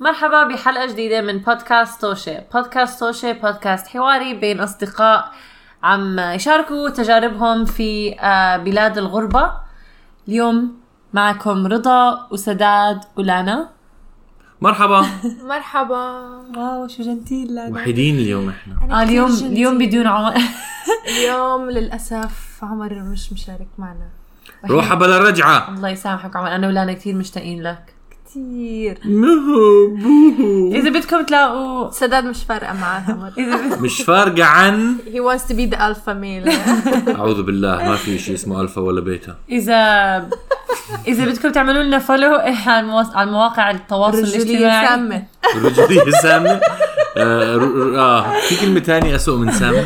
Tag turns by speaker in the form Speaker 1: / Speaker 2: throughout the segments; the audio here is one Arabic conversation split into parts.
Speaker 1: مرحبا بحلقة جديدة من بودكاست توشة بودكاست توشة بودكاست حواري بين أصدقاء عم يشاركوا تجاربهم في آه، بلاد الغربة اليوم معكم رضا وسداد ولانا
Speaker 2: مرحبا
Speaker 3: مرحبا
Speaker 1: واو شو جنتيل لانا
Speaker 2: وحيدين اليوم احنا
Speaker 1: آه اليوم اليوم بدون عمر
Speaker 3: اليوم للاسف عمر مش مشارك معنا
Speaker 2: روحة بلا رجعة
Speaker 1: الله يسامحك عمر أنا ولانا كثير مشتاقين لك
Speaker 3: كثير
Speaker 2: مهو بوهو.
Speaker 1: إذا بدكم تلاقوا
Speaker 3: سداد مش فارقه معاه عمر
Speaker 1: إذا بد-
Speaker 2: مش فارقة عن
Speaker 3: هي wants to be the alpha male
Speaker 2: أعوذ بالله ما في شيء اسمه ألفا ولا بيتا
Speaker 1: إذا إذا بدكم تعملوا لنا فولو على المواص- على مواقع التواصل
Speaker 3: رجولية
Speaker 1: الاجتماعي
Speaker 3: سامة
Speaker 2: الرجولية سامة آه, ر- ر- آه في كلمة تانية أسوأ من سامة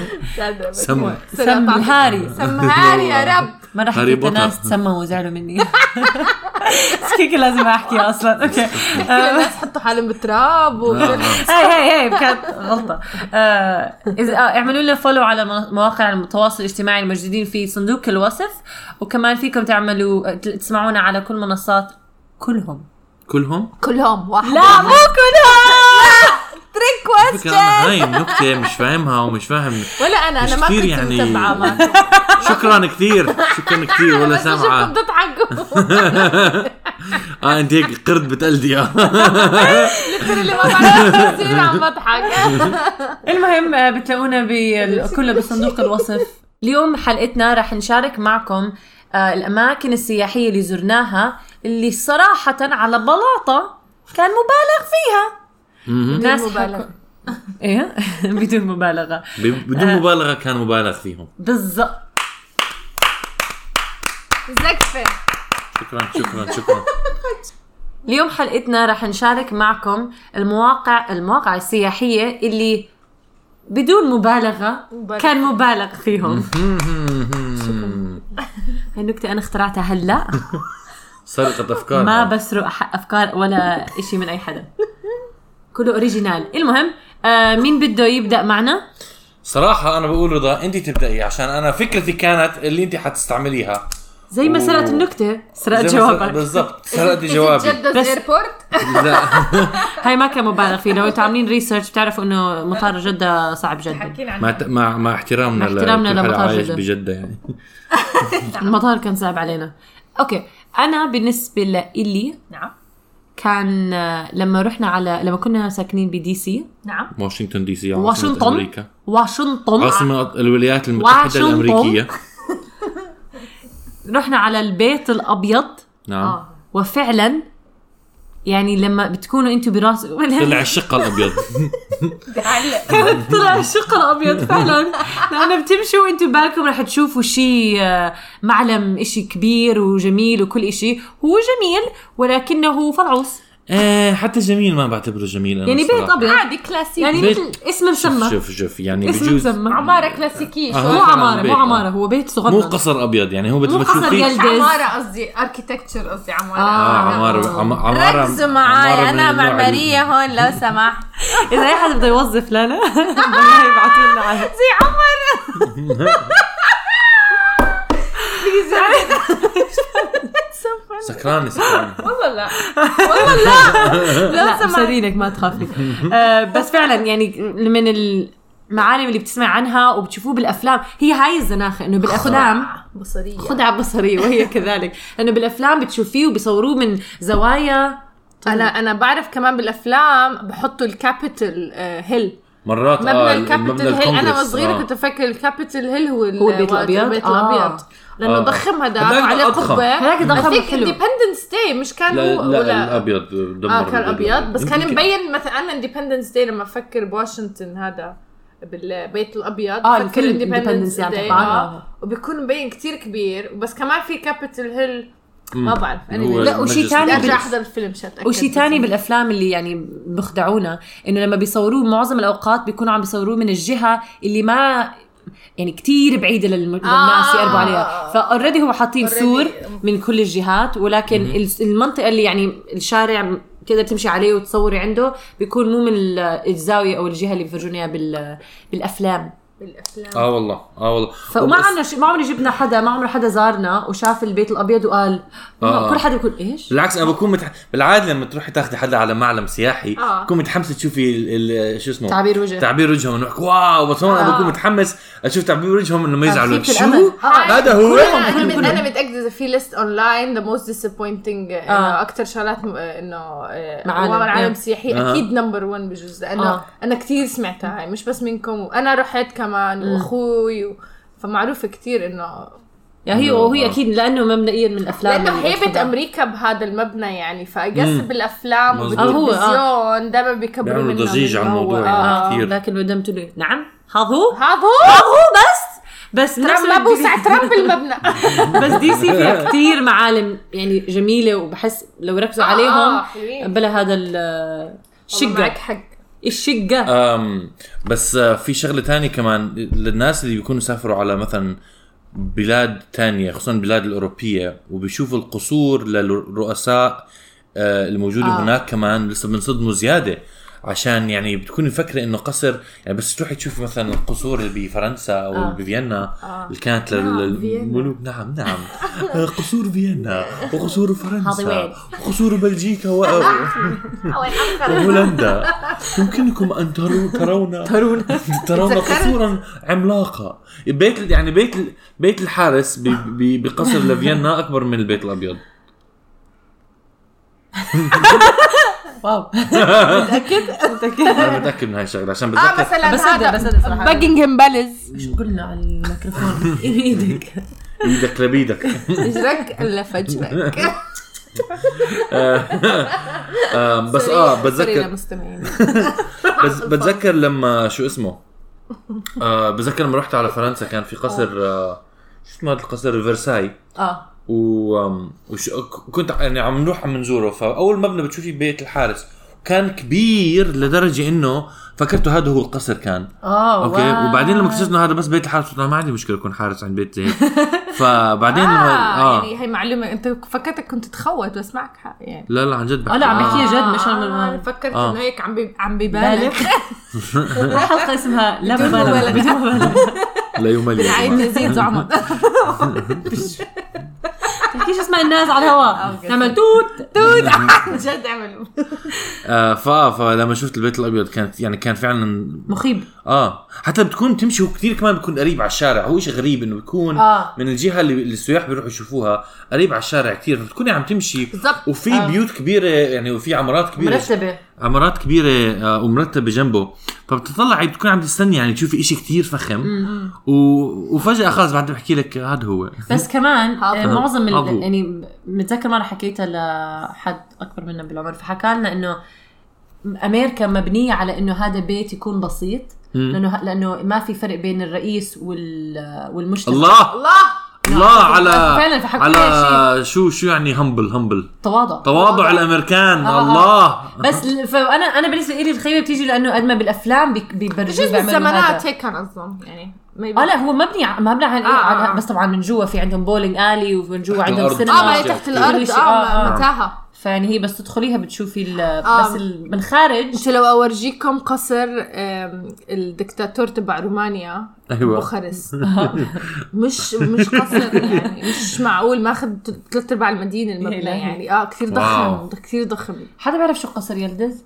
Speaker 2: سمة
Speaker 1: سم الهاري
Speaker 3: سمهاري يا رب
Speaker 1: ما راح
Speaker 2: هاري
Speaker 1: يجيب ناس
Speaker 2: بوتر.
Speaker 1: تسموا وزعلوا مني كيك لازم احكي اصلا اوكي
Speaker 3: كل الناس حطوا حالهم بالتراب
Speaker 2: آه،
Speaker 3: و-
Speaker 2: آه.
Speaker 1: هاي هاي هاي كانت غلطه آه، اذا آه، اعملوا لنا فولو على مو- مواقع التواصل الاجتماعي الموجودين في صندوق الوصف وكمان فيكم تعملوا آه، تسمعونا على كل منصات كلهم
Speaker 2: كلهم
Speaker 3: كلهم واحد
Speaker 1: لا مو كلهم
Speaker 3: تريك
Speaker 2: فكرة أنا
Speaker 3: كويستشن
Speaker 2: هاي النكتة مش فاهمها ومش فاهم
Speaker 3: ولا انا انا
Speaker 2: مش
Speaker 3: ما
Speaker 2: كتير
Speaker 3: كنت
Speaker 2: يعني-
Speaker 3: متبعه معكم
Speaker 2: شكرا كثير شكرا كثير ولا
Speaker 3: بس شفتكم
Speaker 2: سامعة
Speaker 3: تضحكوا
Speaker 2: اه انت هيك قرد بتقلدي آه.
Speaker 3: اللي ما بعرف بصير عم بضحك
Speaker 1: المهم آه، بتلاقونا بال- كله بصندوق الوصف اليوم حلقتنا رح نشارك معكم آه، الأماكن السياحية اللي زرناها اللي صراحة على بلاطة كان مبالغ فيها
Speaker 2: مهم.
Speaker 1: ناس
Speaker 3: مبالغة.
Speaker 1: حكوا- ايه بدون مبالغة
Speaker 2: ب- بدون مبالغة كان مبالغ فيهم
Speaker 1: بالضبط
Speaker 3: زكفه
Speaker 2: شكرا شكرا شكرا
Speaker 1: اليوم حلقتنا رح نشارك معكم المواقع المواقع السياحية اللي بدون مبالغة
Speaker 3: مبالغة.
Speaker 1: كان مبالغ فيهم
Speaker 2: مهم.
Speaker 1: هاي النكتة أنا اخترعتها هلا
Speaker 2: سرقة أفكار
Speaker 1: ما
Speaker 2: هذا.
Speaker 1: بسرق ح- افكار ولا إشي من اي حدا كله اوريجينال المهم آه مين بده يبدا معنا
Speaker 2: صراحة أنا بقول رضا أنت تبدأي عشان أنا فكرتي كانت اللي أنت حتستعمليها
Speaker 1: زي ما
Speaker 2: أوه.
Speaker 1: سرقت النكته سرقت
Speaker 2: زي ما سر-
Speaker 1: جوابك
Speaker 2: بالضبط سرقتي جوابي
Speaker 1: بس-
Speaker 3: جدة ايربورت
Speaker 2: لا
Speaker 1: هاي ما كان مبالغ فيه لو انتوا عاملين ريسيرش بتعرفوا انه مطار جده صعب جدا
Speaker 3: حكينا
Speaker 2: مع مع مع احترامنا
Speaker 1: مع احترامنا
Speaker 2: لكل حدا
Speaker 1: لمطار
Speaker 2: عايش
Speaker 1: جدة.
Speaker 2: بجدة يعني
Speaker 1: المطار كان صعب علينا اوكي انا بالنسبه لإلي
Speaker 3: نعم
Speaker 1: كان آه، لما رحنا على لما كنا ساكنين بدي سي
Speaker 3: نعم
Speaker 2: واشنطن دي سي عاصمة
Speaker 1: واشنطن
Speaker 2: أمريكا
Speaker 1: واشنطن
Speaker 2: عاصمة الولايات المتحدة
Speaker 1: واشنطن.
Speaker 2: الأمريكية
Speaker 1: رحنا على البيت الابيض آه.
Speaker 2: نعم
Speaker 3: اه
Speaker 1: وفعلا يعني لما بتكونوا انتوا براس يعني
Speaker 2: طلع الشقة الأبيض
Speaker 1: طلع الشقة الأبيض فعلا لأنه بتمشوا وانتوا بالكم رح تشوفوا شيء آه، معلم إشي كبير وجميل وكل إشي هو جميل ولكنه فلعوص
Speaker 2: آه، حتى جميل ما بعتبره جميل أنا
Speaker 1: يعني بيت
Speaker 2: الصراحة.
Speaker 1: أبيض
Speaker 3: عادي كلاسيك
Speaker 1: يعني
Speaker 2: بيت-
Speaker 1: مثل اسم مسمى
Speaker 2: شوف شوف يعني
Speaker 1: اسم
Speaker 2: بجوز
Speaker 1: مسمى
Speaker 3: عمارة كلاسيكية شو
Speaker 2: آه.
Speaker 1: مو
Speaker 2: فعلاً
Speaker 1: عمارة
Speaker 2: بيت،
Speaker 1: مو
Speaker 2: آه.
Speaker 1: عمارة هو بيت
Speaker 2: مو
Speaker 1: صغنن
Speaker 2: قصر أبيض يعني هو مثل ما
Speaker 1: قصر
Speaker 2: تشوفيه
Speaker 1: يلد.
Speaker 3: مش عمارة قصدي اركيتكتشر قصدي
Speaker 1: آه.
Speaker 3: عمارة
Speaker 2: اه عمارة عم- عمارة
Speaker 3: ركزوا
Speaker 2: عمارة
Speaker 3: معاي
Speaker 2: من
Speaker 3: انا
Speaker 2: النوع اللي-
Speaker 3: معمارية هون لو سمحت
Speaker 1: إذا أي حدا بده يوظف لانا بالله يبعثوا لنا على
Speaker 3: زي عمر
Speaker 2: سكرانة سكرانة
Speaker 3: والله لا والله لا لو
Speaker 1: لا
Speaker 3: سمحت
Speaker 1: مسرينك ما تخافي آه، بس فعلا يعني من المعالم اللي بتسمع عنها وبتشوفوه بالافلام هي هاي الزناخه انه بالافلام
Speaker 3: بصرية
Speaker 1: خدعة بصرية وهي كذلك لأنه بالأفلام بتشوفيه وبيصوروه من زوايا
Speaker 3: انا انا بعرف كمان بالافلام بحطوا الكابيتال هيل
Speaker 2: مرات
Speaker 3: مبنى
Speaker 2: اه
Speaker 3: الكابيتال هيل انا
Speaker 2: الكونغرس،
Speaker 3: وصغيرة
Speaker 2: آه.
Speaker 3: كنت افكر الكابيتال هيل هو ال-
Speaker 1: هو البيت
Speaker 3: وقت
Speaker 1: الأبيض؟
Speaker 3: البيت
Speaker 1: آه.
Speaker 3: الابيض لانه
Speaker 2: آه.
Speaker 3: ضخم هذاك
Speaker 2: هداك
Speaker 3: وعليه
Speaker 2: أضخم.
Speaker 3: قبة
Speaker 1: هداك ضخم
Speaker 3: I think
Speaker 1: حلو.
Speaker 3: Independence Day مش كان
Speaker 2: لا
Speaker 3: هو
Speaker 2: لا,
Speaker 3: ولا-
Speaker 2: الابيض دمر
Speaker 3: اه كان ابيض بس كان
Speaker 2: يمكن-
Speaker 3: مبين مثلا انا اندبندنس داي لما افكر بواشنطن هذا بالبيت الابيض
Speaker 1: آه،
Speaker 3: بفكر
Speaker 1: الفيلم
Speaker 3: Independence
Speaker 1: Independence يعني
Speaker 3: Day،
Speaker 1: تبعنا.
Speaker 3: آه، وبيكون مبين كتير كبير بس كمان في كابيتال هيل
Speaker 2: مم.
Speaker 3: ما بعرف يعني
Speaker 2: هو
Speaker 3: انا
Speaker 1: لا، وشي
Speaker 2: المجلس
Speaker 1: تاني
Speaker 3: بدي
Speaker 2: الأبيض.
Speaker 1: بال-
Speaker 3: ارجع احضر الفيلم عشان اتاكد
Speaker 1: وشي تاني بالأفلام اللي يعني بخدعونا إنه لما بيصوروه معظم الأوقات بيكونوا عم بيصوروه من الجهة اللي ما يعني كتير بعيدة للم- للناس
Speaker 3: آه.
Speaker 1: يقربوا عليها فأوريدي هو حاطين
Speaker 3: Already.
Speaker 1: سور من كل الجهات ولكن ال- المنطقة اللي يعني الشارع تقدر تمشي عليه وتصوري عنده بيكون مو من ال- الزاوية أو الجهة اللي بيفرجونا إياها بال- بالأفلام
Speaker 3: بالافلام
Speaker 2: اه والله اه والله
Speaker 1: فما عنا شي ما عمري جبنا حدا ما عمره حدا زارنا وشاف البيت الابيض وقال
Speaker 2: آه.
Speaker 1: آه. كل حدا يقول ايش؟
Speaker 2: بالعكس انا بكون متح... بالعاده لما تروحي تاخذي حدا على معلم سياحي
Speaker 3: آه.
Speaker 2: بكون متحمسه تشوفي ال... ال... شو اسمه
Speaker 1: تعبير وجه.
Speaker 2: تعبير وجههم انه واو بس هون انا
Speaker 3: آه.
Speaker 2: بكون متحمس اشوف تعبير وجههم لما يزعلوا
Speaker 1: فيك الأمل.
Speaker 2: شو
Speaker 1: آه.
Speaker 2: هذا هو
Speaker 3: انا أنا
Speaker 1: كلهم-
Speaker 3: من- انا متاكده اذا في ليست اونلاين ذا موست ديسابوينتنج
Speaker 1: آه.
Speaker 3: اكثر شغلات م- انه آه،
Speaker 1: معالم.
Speaker 3: والله معالم
Speaker 1: آه.
Speaker 3: سياحي
Speaker 2: آه.
Speaker 3: اكيد نمبر 1 بجوز لانه
Speaker 1: آه.
Speaker 3: انا كثير سمعتها هاي مش بس منكم وانا رحت كمان واخوي و... فمعروفه كثير انه
Speaker 1: يا يعني هي
Speaker 2: آه.
Speaker 1: وهي اكيد لانه مبنئيا من الافلام
Speaker 3: لانه
Speaker 1: اللي
Speaker 3: هيبه
Speaker 1: بتحبها.
Speaker 3: امريكا بهذا المبنى يعني فاجس
Speaker 2: مم.
Speaker 3: بالافلام
Speaker 2: مظبوط.
Speaker 3: وبالتلفزيون دائما بيكبروا
Speaker 2: بيعملوا
Speaker 3: منه
Speaker 2: ضجيج على
Speaker 3: إنه هو-
Speaker 2: الموضوع
Speaker 3: آه.
Speaker 2: يعني كثير
Speaker 1: لكن بدهم تقول لي، نعم هذا هو
Speaker 3: هذا هو
Speaker 1: هذا هو بس بس
Speaker 3: ترامب
Speaker 1: نفس
Speaker 3: ما
Speaker 1: الوقت
Speaker 3: بوسع
Speaker 1: دي-
Speaker 3: ترامب المبنى
Speaker 1: بس دي سي فيها كثير معالم يعني جميله وبحس لو ركزوا
Speaker 3: آه، آه،
Speaker 1: عليهم
Speaker 3: حلوين.
Speaker 1: بلا هذا ال-
Speaker 3: والله معك
Speaker 1: الشقه
Speaker 3: حق
Speaker 1: الشقه
Speaker 2: أم بس آه، في شغله تانية كمان للناس اللي بيكونوا سافروا على مثلا بلاد تانية خصوصا البلاد الأوروبية وبيشوفوا القصور للرؤساء آه، الموجودة آه.
Speaker 1: آه.
Speaker 2: هناك كمان لسه بنصدموا زيادة عشان يعني بتكون الفكرة انه قصر يعني بس تروحي تشوفي مثلا القصور اللي بفرنسا او
Speaker 1: آه.
Speaker 2: آه. بفيينا
Speaker 3: آه.
Speaker 2: اللي كانت
Speaker 3: نعم،
Speaker 2: للملوك نعم نعم آه، قصور فيينا وقصور
Speaker 1: هذه وين؟
Speaker 2: فرنسا وقصور بلجيكا و... هولندا يمكنكم ان ترو- ترون
Speaker 1: ترون
Speaker 2: ترون
Speaker 3: تذكرت.
Speaker 2: قصورا عملاقه بيت يعني بيت بيت الحارس ب- ب- بقصر لفيينا اكبر من البيت الابيض
Speaker 1: واو
Speaker 2: انا متاكد من هاي الشغله عشان
Speaker 3: اه
Speaker 2: بتذكر
Speaker 3: مثلا
Speaker 1: بس
Speaker 3: هذا
Speaker 1: أدى- بس أدى صراحة.
Speaker 3: باكنجهام باليز
Speaker 1: شو قلنا على الميكروفون إيه، ايدك
Speaker 2: ايدك لبيدك
Speaker 3: اجرك الا فجرك
Speaker 2: آه، بس اه بتذكر
Speaker 3: للمستمعين
Speaker 2: بس بتذكر لما شو اسمه آه بتذكر لما رحت على فرنسا كان في قصر آه شو اسمه هذا القصر فرساي
Speaker 1: اه
Speaker 2: و أم، وش... ك- كنت يعني عم نروح عم نزوره فاول مبنى بتشوفي بيت الحارس كان كبير لدرجه انه فكرته هذا هو القصر كان
Speaker 1: اه
Speaker 3: آه،
Speaker 2: اوكي وبعدين لما اكتشفت انه هذا بس بيت الحارس قلت أنا ما عندي مشكله اكون حارس عند بيت زي هيك فبعدين لما- آه.
Speaker 3: اه يعني هي معلومه انت فكرتك كنت تخوت بس معك حق يعني
Speaker 2: لا لا عن جد
Speaker 1: اه لا عم
Speaker 2: آه.
Speaker 1: بحكي جد مش
Speaker 3: آه،
Speaker 1: عم
Speaker 3: فكرت
Speaker 2: آه.
Speaker 3: انه هيك عم بي... عم ببالغ
Speaker 1: بالغ الحلقه اسمها لا
Speaker 3: بدون
Speaker 1: مبالغه
Speaker 3: مبالغة.
Speaker 1: بدون مبالغه
Speaker 2: آه، لا يمل يا
Speaker 3: عيد
Speaker 2: جماعة.
Speaker 3: لذيذ وعمض
Speaker 1: تحكيش اسمع الناس على الهواء
Speaker 3: آه، أوكي.
Speaker 1: نعمل توت
Speaker 3: دود عن جد عملوا
Speaker 2: آه، ف... فلما شفت البيت الابيض كانت يعني كان فعلا
Speaker 1: مخيب
Speaker 2: اه حتى بتكون تمشي وكثير كمان بتكون قريب على الشارع هو شيء غريب انه بيكون
Speaker 1: آه.
Speaker 2: من الجهه اللي اللي السياح بيروحوا يشوفوها قريب على الشارع كثير فبتكوني عم تمشي
Speaker 3: بالضبط.
Speaker 2: وفي
Speaker 1: آه.
Speaker 2: بيوت كبيره يعني وفي عمارات كبيره
Speaker 1: مرتبه
Speaker 2: عمارات كبيره آه، ومرتبه جنبه فبتطلعي بتكون عم تستني يعني تشوفي إشي كثير فخم و... وفجاه خلص بعد بحكي لك هذا هو
Speaker 1: بس كمان آه،
Speaker 3: حاضر.
Speaker 1: معظم
Speaker 2: حاضر.
Speaker 1: ال... يعني متذكر مره حكيتها لحد اكبر منا بالعمر فحكى لنا انه امريكا مبنيه على انه هذا بيت يكون بسيط لانه لانه ما في فرق بين الرئيس وال... والمجتمع
Speaker 2: الله
Speaker 3: الله
Speaker 2: الله على
Speaker 1: فعلاً فحكوا لنا
Speaker 2: على شو شو يعني همبل همبل
Speaker 1: تواضع
Speaker 2: تواضع الامريكان
Speaker 1: آه.
Speaker 2: الله
Speaker 1: بس ال- فانا انا بالنسبه لي الخيبه بتيجي لانه قد ما بالافلام بيك- بيبرجوك
Speaker 3: بجوز
Speaker 1: بيعملوا
Speaker 3: بالزمانات
Speaker 1: هذا
Speaker 3: هيك كان اظن يعني maybe.
Speaker 1: اه لا هو مبني ع- مبني على, إيه؟
Speaker 3: آه، آه،
Speaker 1: على
Speaker 3: آه.
Speaker 1: بس طبعا من جوا في عندهم بولينج الي ومن جوا
Speaker 2: تحت
Speaker 1: عندهم
Speaker 2: الأرض.
Speaker 1: سينما
Speaker 3: اه ما هي
Speaker 2: آه،
Speaker 3: تحت
Speaker 2: كتير.
Speaker 3: الارض
Speaker 1: كل شيء،
Speaker 3: اه
Speaker 1: آه، آه.
Speaker 3: متاهه
Speaker 1: فيعني هي بس تدخليها بتشوفي ال-
Speaker 3: آه.
Speaker 1: بس ال- من خارج
Speaker 3: انت لو اورجيكم قصر آم، الدكتاتور تبع رومانيا
Speaker 2: أيوة.
Speaker 3: بوخارست آه. مش مش قصر يعني مش معقول ماخذ ثلاث ارباع المدينه المبنى
Speaker 1: إلهي.
Speaker 3: يعني اه كثير
Speaker 2: واو.
Speaker 3: ضخم كثير ضخم
Speaker 1: حدا بيعرف شو قصر يلدز؟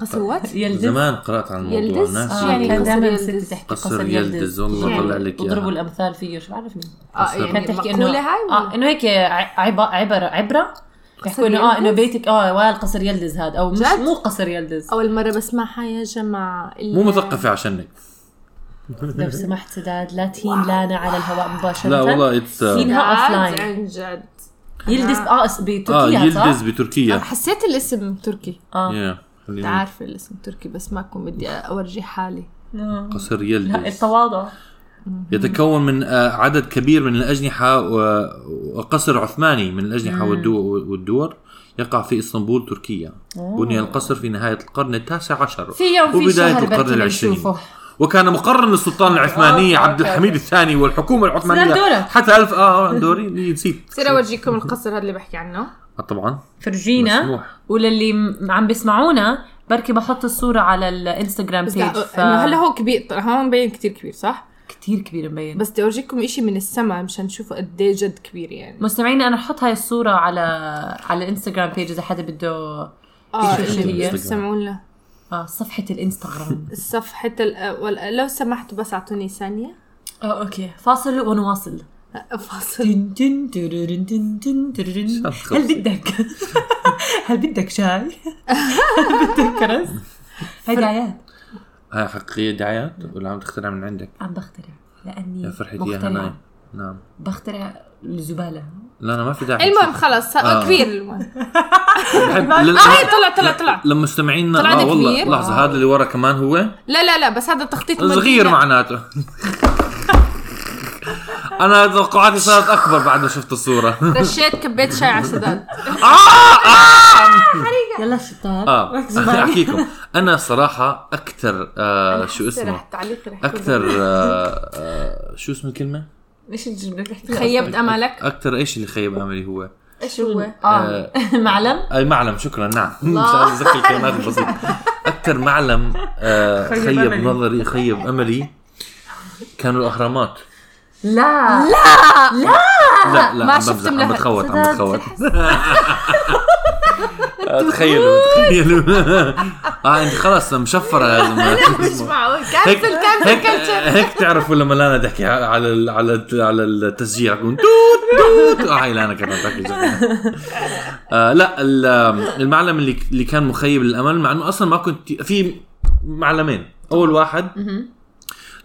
Speaker 3: قصر وات؟
Speaker 1: يلدز
Speaker 2: زمان قرات عن الموضوع
Speaker 3: يلدز؟
Speaker 2: ناس
Speaker 1: آه
Speaker 3: شو يعني
Speaker 1: كان
Speaker 3: قصر
Speaker 1: دائما
Speaker 3: يلدز؟
Speaker 1: ستي تحكي
Speaker 2: قصر
Speaker 1: قصر
Speaker 2: يلدز،
Speaker 1: يلدز,
Speaker 2: والله
Speaker 3: يعني
Speaker 2: طلع لك
Speaker 1: وضربوا
Speaker 2: إياها.
Speaker 1: الامثال فيه شو بعرف مين
Speaker 3: اه
Speaker 2: قصر.
Speaker 3: يعني
Speaker 1: كانت تحكي انه
Speaker 3: مقولة هاي ولا؟
Speaker 1: اه انه هيك ع- عب- عبره عبره يحكوا انه اه انه
Speaker 3: يلدز؟
Speaker 1: بيتك اه وائل قصر يلدز هذا او مش
Speaker 3: جد؟
Speaker 1: مو قصر يلدز
Speaker 3: اول مره بسمعها يا جماعه
Speaker 2: مو مثقفة عشانك
Speaker 1: لو سمحت سداد لا تهين لانا على الهواء مباشره
Speaker 2: لا والله اتس اه
Speaker 1: مين؟ إنها offline.
Speaker 3: عن جد
Speaker 1: يلدز اه اس- بتركيا
Speaker 2: آه، يلدز
Speaker 1: صح؟
Speaker 2: بتركيا
Speaker 3: حسيت الاسم تركي
Speaker 1: اه
Speaker 2: يا خلينا نقول
Speaker 3: عارفه الاسم تركي بس ماكم بدي اورجي حالي
Speaker 2: قصر
Speaker 1: لا،
Speaker 2: يلدز
Speaker 1: التواضع
Speaker 2: يتكون من آه، عدد كبير من الأجنحة و- وقصر عثماني من الأجنحة والدو- والدور يقع في اسطنبول تركيا بني القصر في نهاية القرن التاسع عشر
Speaker 1: في يوم في
Speaker 2: وبداية
Speaker 1: شهر
Speaker 2: القرن
Speaker 1: بركي
Speaker 2: العشرين
Speaker 1: بنشوفه.
Speaker 2: وكان مقرا للسلطان العثماني
Speaker 1: آه،
Speaker 2: عبد
Speaker 1: آه، آه.
Speaker 2: الحميد الثاني والحكومة العثمانية
Speaker 1: سلندورة.
Speaker 2: حتى ألف اه دوري نسيت
Speaker 3: بصير اورجيكم القصر هذا اللي بحكي عنه
Speaker 2: آه، طبعا
Speaker 1: فرجينا
Speaker 2: مسموح.
Speaker 1: وللي م- عم بيسمعونا بركي بحط الصوره على الانستغرام
Speaker 3: بس
Speaker 1: بيج
Speaker 3: لا
Speaker 1: ف...
Speaker 3: إنه هلا هو كبير طلع هون مبين كتير كبير صح؟
Speaker 1: كتير كبير مبين
Speaker 3: بس بدي اورجيكم اشي من السما مشان تشوفوا قد ايه جد كبير يعني
Speaker 1: مستمعينا انا رح احط هاي الصوره على على الانستغرام بيج اذا حدا بده
Speaker 3: اه
Speaker 1: شو اللي
Speaker 3: اللي
Speaker 1: هي؟
Speaker 3: بيسمعوا لنا
Speaker 1: اه صفحه الانستغرام
Speaker 3: الصفحة ال- آه، وال- لو سمحتوا بس اعطوني ثانية آه،
Speaker 1: اه اوكي فاصل ونواصل
Speaker 3: فاصل
Speaker 1: دن دن دررن دن دن دررن.
Speaker 2: شخص.
Speaker 1: هل بدك هل بدك شاي؟ هل بدك كرز؟ هاي دعايات
Speaker 2: هاي حقيقيه دعايات ولا عم تخترع من عندك
Speaker 1: عم بخترع لاني
Speaker 2: يا فرحتي يا
Speaker 1: مخترعة
Speaker 2: هناي نعم
Speaker 1: بخترع الزباله
Speaker 2: لا انا ما في داعي
Speaker 3: المهم خلاص
Speaker 2: آه.
Speaker 3: آه. كبير المهم
Speaker 2: بحب-
Speaker 3: اه
Speaker 2: لل-
Speaker 3: هي طلع طلع طلع
Speaker 2: لما مستمعينا
Speaker 3: طلع
Speaker 2: اه
Speaker 3: عندك
Speaker 2: والله
Speaker 3: كبير؟
Speaker 2: لحظه هذا اللي ورا كمان هو
Speaker 3: لا لا لا بس هذا تخطيط
Speaker 2: صغير
Speaker 3: مدينة.
Speaker 2: معناته انا توقعاتي صارت اكبر بعد ما شفت الصوره
Speaker 3: رشيت كبيت شاي على سداد
Speaker 1: يلا شطار
Speaker 2: اه
Speaker 1: ركزوا معي.
Speaker 2: احكيكم انا صراحه اكثر آه شو
Speaker 3: رح
Speaker 2: اسمه
Speaker 3: تعليق رح يكون
Speaker 2: اكثر آه آه شو اسم الكلمه
Speaker 1: ايش الجمله اللي رح تحكيها؟
Speaker 3: خيبت املك
Speaker 2: اكثر ايش اللي خيب املي هو
Speaker 3: ايش هو؟
Speaker 2: آه.
Speaker 3: آه.
Speaker 1: اه معلم
Speaker 2: اي معلم شكرا نعم مشان اتذكر الكلمات البسيطه اكثر معلم آه
Speaker 1: خيب
Speaker 2: خيب
Speaker 1: أملي.
Speaker 2: نظري خيب املي كانوا الاهرامات
Speaker 1: لا
Speaker 2: لا لا
Speaker 3: ما
Speaker 2: عم
Speaker 3: شفت
Speaker 2: بمزح عم
Speaker 3: من هال-
Speaker 2: بتخوت عم
Speaker 1: صدق.
Speaker 2: بتخوت آه، تخيلوا تخيلوا اه انت خلص مشفره لما
Speaker 3: مش معقول
Speaker 2: هيك
Speaker 3: كنسل كنسل
Speaker 2: هيك
Speaker 3: كنسل
Speaker 2: هيك تعرفوا لما لانا تحكي على ال- على الت- على التسجيل حكون توت توت آه، هاي لانا كانت تحكي زي- آه لا ال- المعلم اللي اللي كان مخيب للامل مع انه اصلا ما كنت في معلمين اول واحد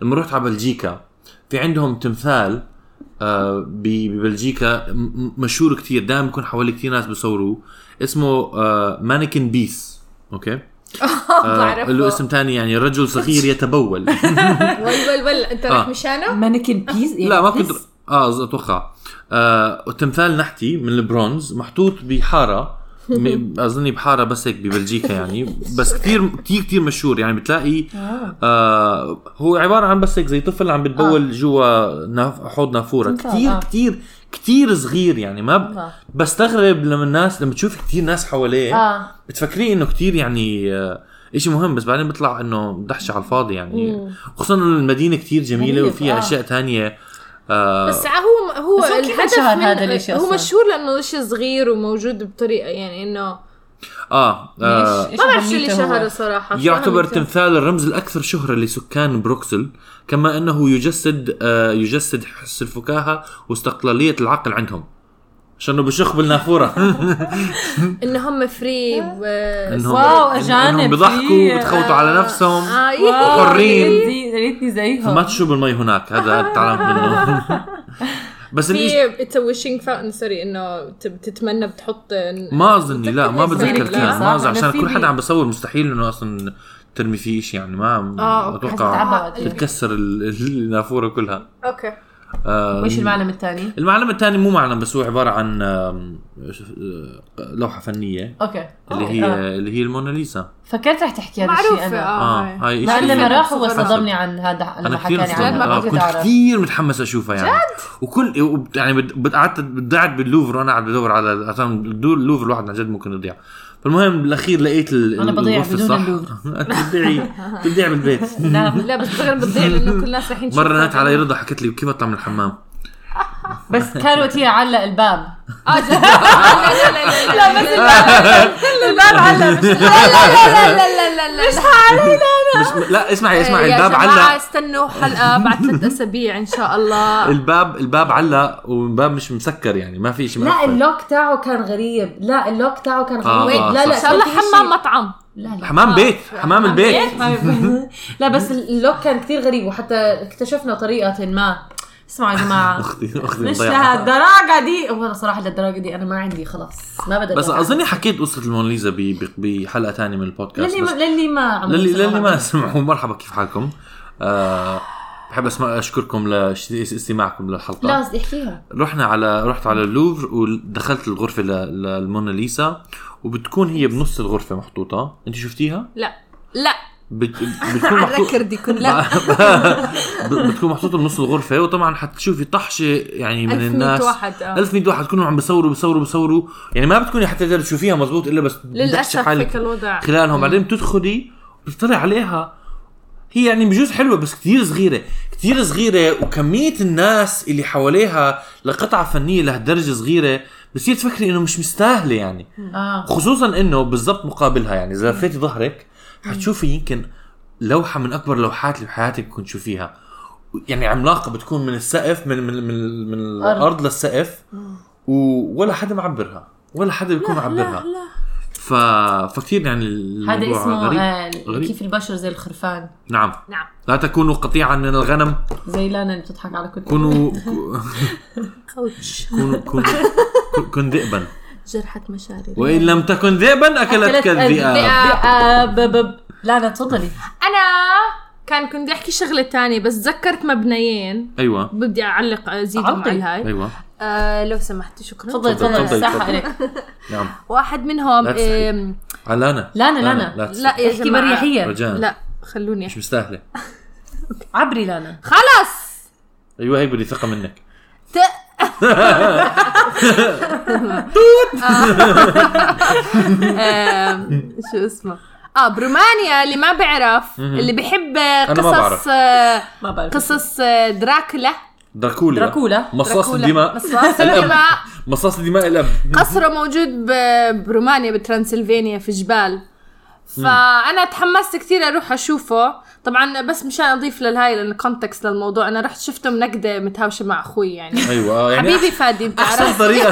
Speaker 2: لما رحت على بلجيكا في عندهم تمثال آه، ب- ببلجيكا م- م- مشهور كتير دائما بيكون حوالي كتير ناس بيصوروه اسمه آه، مانيكن بيس اوكي آه،
Speaker 3: بعرفه.
Speaker 2: له اسم تاني يعني رجل صغير يتبول
Speaker 3: ول ول ول انت رايح
Speaker 2: آه.
Speaker 3: مشانه؟
Speaker 1: مانيكن بيس يعني
Speaker 2: لا ما كنت
Speaker 1: بس.
Speaker 2: اه ز- اتوقع آه وتمثال نحتي من البرونز محطوط بحاره م- اظني بحاره بس هيك ببلجيكا يعني بس كثير كثير كثير مشهور يعني بتلاقي آه هو عباره عن بس هيك زي طفل عم بتبول جوا ناف حوض نافوره
Speaker 1: آه. تمثال،
Speaker 2: كثير
Speaker 1: آه.
Speaker 2: كثير كثير صغير يعني ما ب...
Speaker 1: الله.
Speaker 2: بستغرب لما الناس لما تشوف كثير ناس حواليه
Speaker 1: اه
Speaker 2: بتفكري انه كثير يعني آه شيء مهم بس بعدين بيطلع انه دحشه على الفاضي يعني خصوصا إنه المدينه كثير جميله
Speaker 1: جميلة،
Speaker 2: وفيها
Speaker 1: آه.
Speaker 2: اشياء تانية آه
Speaker 3: بس هو هو
Speaker 1: بس هو كيف
Speaker 3: الهدف
Speaker 1: انشهر
Speaker 3: من
Speaker 1: هذا الاشي
Speaker 3: هو
Speaker 1: أصلاً؟
Speaker 3: مشهور لانه شيء صغير وموجود بطريقه يعني انه
Speaker 2: اه, آه
Speaker 1: إيش
Speaker 3: ما بعرف شو اللي
Speaker 1: أهميته هو؟
Speaker 3: شهره صراحه
Speaker 2: يعتبر
Speaker 3: فهمت؟
Speaker 2: تمثال الرمز الاكثر شهره لسكان بروكسل كما انه يجسد آه يجسد حس الفكاهه واستقلاليه العقل عندهم شنو بشخ بالنافوره
Speaker 3: ان هم فري و
Speaker 2: انهم
Speaker 1: واو،
Speaker 2: إن- انهم
Speaker 1: أجانب
Speaker 2: بيضحكوا
Speaker 1: في-
Speaker 2: وبتخوتوا على نفسهم
Speaker 3: آه، إيه.
Speaker 1: واو،
Speaker 2: وحرين.
Speaker 1: ريتني- ريتني زيهم
Speaker 2: فما تشرب المي هناك هذا تعلمت منه بس الإشي-
Speaker 3: في اتس ويشنج فاونتن سوري انه ت- بتتمنى بتحط
Speaker 2: ما اظني لا ما بتذكر
Speaker 1: بيصير
Speaker 2: فيها
Speaker 1: كتير،
Speaker 2: ما
Speaker 1: صح؟
Speaker 2: اظن عشان
Speaker 1: نصيبي.
Speaker 2: كل حدا عم بصور مستحيل انه اصلا ترمي فيه شيء يعني ما
Speaker 3: آه، أوكي.
Speaker 2: اتوقع
Speaker 1: حتتعبى.
Speaker 2: تتكسر ال- النافوره كلها
Speaker 3: اوكي
Speaker 2: آه،
Speaker 1: وايش المعلم الثاني؟
Speaker 2: المعلم الثاني مو معلم بس هو عباره عن آم، آه، لوحه فنيه
Speaker 1: اوكي
Speaker 2: اللي
Speaker 1: أوكي،
Speaker 2: هي
Speaker 1: آه.
Speaker 2: اللي هي الموناليزا
Speaker 1: فكرت رح تحكي هذا الشيء
Speaker 3: معروفه
Speaker 1: انا
Speaker 2: اه
Speaker 3: اه هاي.
Speaker 2: هاي
Speaker 1: لأن
Speaker 2: إشي
Speaker 1: لما
Speaker 2: فيني.
Speaker 1: آه. راح هو
Speaker 3: حسب.
Speaker 1: صدمني عن هذا
Speaker 2: انا
Speaker 1: لما حكى
Speaker 2: كثير
Speaker 1: لي
Speaker 2: مستغرب.
Speaker 1: عنه
Speaker 3: ما
Speaker 2: آه،
Speaker 1: ما كنت
Speaker 2: كنت
Speaker 1: اعرف
Speaker 2: كثير متحمس اشوفها يعني جد؟ وكل وب- يعني بد- بد- قعدت بدعت باللوفر وانا قاعد بدور على عشان الدور- اللوفر الواحد عن جد ممكن يضيع فالمهم بالاخير لقيت ال-
Speaker 1: أنا بضيع
Speaker 2: الغرفة
Speaker 1: بدون
Speaker 2: الصح.
Speaker 1: اللوفر.
Speaker 2: أنت بتضيعي بتضيع بالبيت
Speaker 1: لا
Speaker 3: لا بس بتغرب بتضيع لانه كل الناس رايحين
Speaker 2: مره نات علي رضا حكت لي كيف اطلع من الحمام
Speaker 1: بس كان وقتها علق الباب
Speaker 3: اه جد. لا لا لا لا لا بس
Speaker 1: الباب علق مش
Speaker 3: لا لا لا لا لا
Speaker 2: مش لا
Speaker 1: إيه،
Speaker 2: اسمعي اسمعي
Speaker 3: يا
Speaker 2: الباب
Speaker 3: جماعة
Speaker 2: علق
Speaker 3: استنوا حلقه بعد ثلاث اسابيع ان شاء الله
Speaker 2: الباب الباب علق والباب مش مسكر يعني ما في شيء
Speaker 1: لا
Speaker 2: مقفل.
Speaker 1: اللوك تاعه كان غريب لا اللوك تاعه كان
Speaker 2: آه،
Speaker 1: غريب
Speaker 2: آه،
Speaker 1: لا لا
Speaker 2: صح.
Speaker 3: ان شاء الله
Speaker 1: كان في شيء-
Speaker 3: حمام مطعم
Speaker 1: لا لا
Speaker 2: حمام بيت حمام البيت
Speaker 1: لا بس اللوك كان كثير غريب وحتى اكتشفنا طريقة ما اسمعوا يا جماعة
Speaker 2: اختي اختي
Speaker 1: مش
Speaker 2: مضيعة.
Speaker 1: لهالدرجة دي وانا صراحة للدرجة دي انا ما عندي خلاص ما بدي
Speaker 2: بس
Speaker 1: أدافع.
Speaker 2: اظني حكيت قصه الموناليزا ب- ب- بحلقه ثانيه من البودكاست
Speaker 1: للي ما
Speaker 2: بس
Speaker 1: للي ما عم
Speaker 2: للي
Speaker 1: يسمعوا
Speaker 2: للي
Speaker 1: هذا.
Speaker 2: ما سمعوا مرحبا كيف حالكم؟ آه، بحب اسمع اشكركم لاستماعكم للحلقه
Speaker 1: لا قصدي احكيها
Speaker 2: رحنا على رحت على اللوفر ودخلت الغرفه ل- للموناليزا وبتكون هي بنص الغرفه محطوطه انت شفتيها
Speaker 3: لا لا
Speaker 2: بت- بتكون
Speaker 3: على
Speaker 2: محطوط
Speaker 3: الركردي كلها
Speaker 2: بتكون محطوط بنص الغرفه وطبعا حتشوفي طحشه يعني من
Speaker 3: 1100
Speaker 2: الناس
Speaker 3: واحد، آه.
Speaker 2: 1100 واحد كلهم عم بيصوروا بيصوروا بيصوروا يعني ما بتكوني حتى تقدر تشوفيها مزبوط الا بس بدك تشوف
Speaker 3: للاسف
Speaker 2: حالك
Speaker 3: هيك الوضع
Speaker 2: خلالهم بعدين بتدخلي بتطلع عليها هي يعني بجوز حلوه بس كتير صغيره كتير صغيره وكميه الناس اللي حواليها لقطعه فنيه لهالدرجه صغيره بصير تفكري انه مش مستاهله يعني
Speaker 1: اه
Speaker 2: خصوصا انه بالضبط مقابلها يعني اذا لفيتي ظهرك حتشوفي يمكن لوحه من اكبر لوحات اللي بحياتك كنت تشوفيها يعني عملاقه بتكون من السقف من من من, من الارض للسقف ولا حدا معبرها ولا حدا بيكون معبرها
Speaker 3: لا
Speaker 2: ف... فكتير يعني الموضوع
Speaker 1: هذا اسمه
Speaker 2: غريب.
Speaker 1: آه
Speaker 2: غريب.
Speaker 1: كيف البشر زي الخرفان
Speaker 2: نعم
Speaker 3: نعم
Speaker 2: لا تكونوا قطيعا من الغنم
Speaker 1: زي لانا اللي بتضحك على كل
Speaker 2: كونوا
Speaker 3: اوتش
Speaker 2: كونوا كونوا كن- كن ذئبا
Speaker 3: جرحت مشاعري
Speaker 2: وان لم تكن ذئبا اكلتك الذئاب
Speaker 1: الذئاب لانا تفضلي
Speaker 3: انا كان كنت بدي احكي شغله تانية بس تذكرت مبنيين
Speaker 2: ايوه
Speaker 3: بدي اعلق ازيدهم
Speaker 1: عطي.
Speaker 3: على هاي
Speaker 2: ايوه
Speaker 3: آه لو سمحتي شكرا
Speaker 1: تفضلي
Speaker 2: تفضل،
Speaker 1: تفضلي
Speaker 2: تفضل،
Speaker 1: الساحه
Speaker 2: تفضل.
Speaker 1: لك
Speaker 2: نعم
Speaker 3: واحد منهم
Speaker 2: لا تستحي.
Speaker 3: آم،
Speaker 2: علانا
Speaker 1: لانا
Speaker 2: آه، لا
Speaker 1: لانا
Speaker 2: تستحي.
Speaker 3: لا يا
Speaker 1: احكي
Speaker 3: جماعة.
Speaker 1: بريحيه
Speaker 2: رجاء
Speaker 3: لا خلوني
Speaker 2: مش مستاهله
Speaker 1: عبري لانا
Speaker 3: خلص
Speaker 2: ايوه هيك بدي ثقه منك
Speaker 3: ت... آه. آم، شو اسمه اه برومانيا اللي ما بعرف اللي بيحب
Speaker 2: ما
Speaker 3: قصص
Speaker 2: بعرف.
Speaker 3: آه،
Speaker 1: ما بعرف
Speaker 3: قصص آه، دراكولا
Speaker 2: دراكولا
Speaker 1: دراكولا.
Speaker 2: مصاص
Speaker 3: دراكولا.
Speaker 2: الدماء
Speaker 3: مصاص الدماء
Speaker 2: مصاص الدماء الاب
Speaker 3: قصره موجود ب- برومانيا بترانسلفانيا في جبال فانا تحمست كثير اروح اشوفه طبعا بس مشان اضيف للهاي لان كونتكست للموضوع انا رحت شفته منكده متهاوشه مع اخوي يعني
Speaker 2: ايوه آه، يعني
Speaker 3: حبيبي فادي انت
Speaker 2: احسن
Speaker 3: عرفت
Speaker 2: طريقه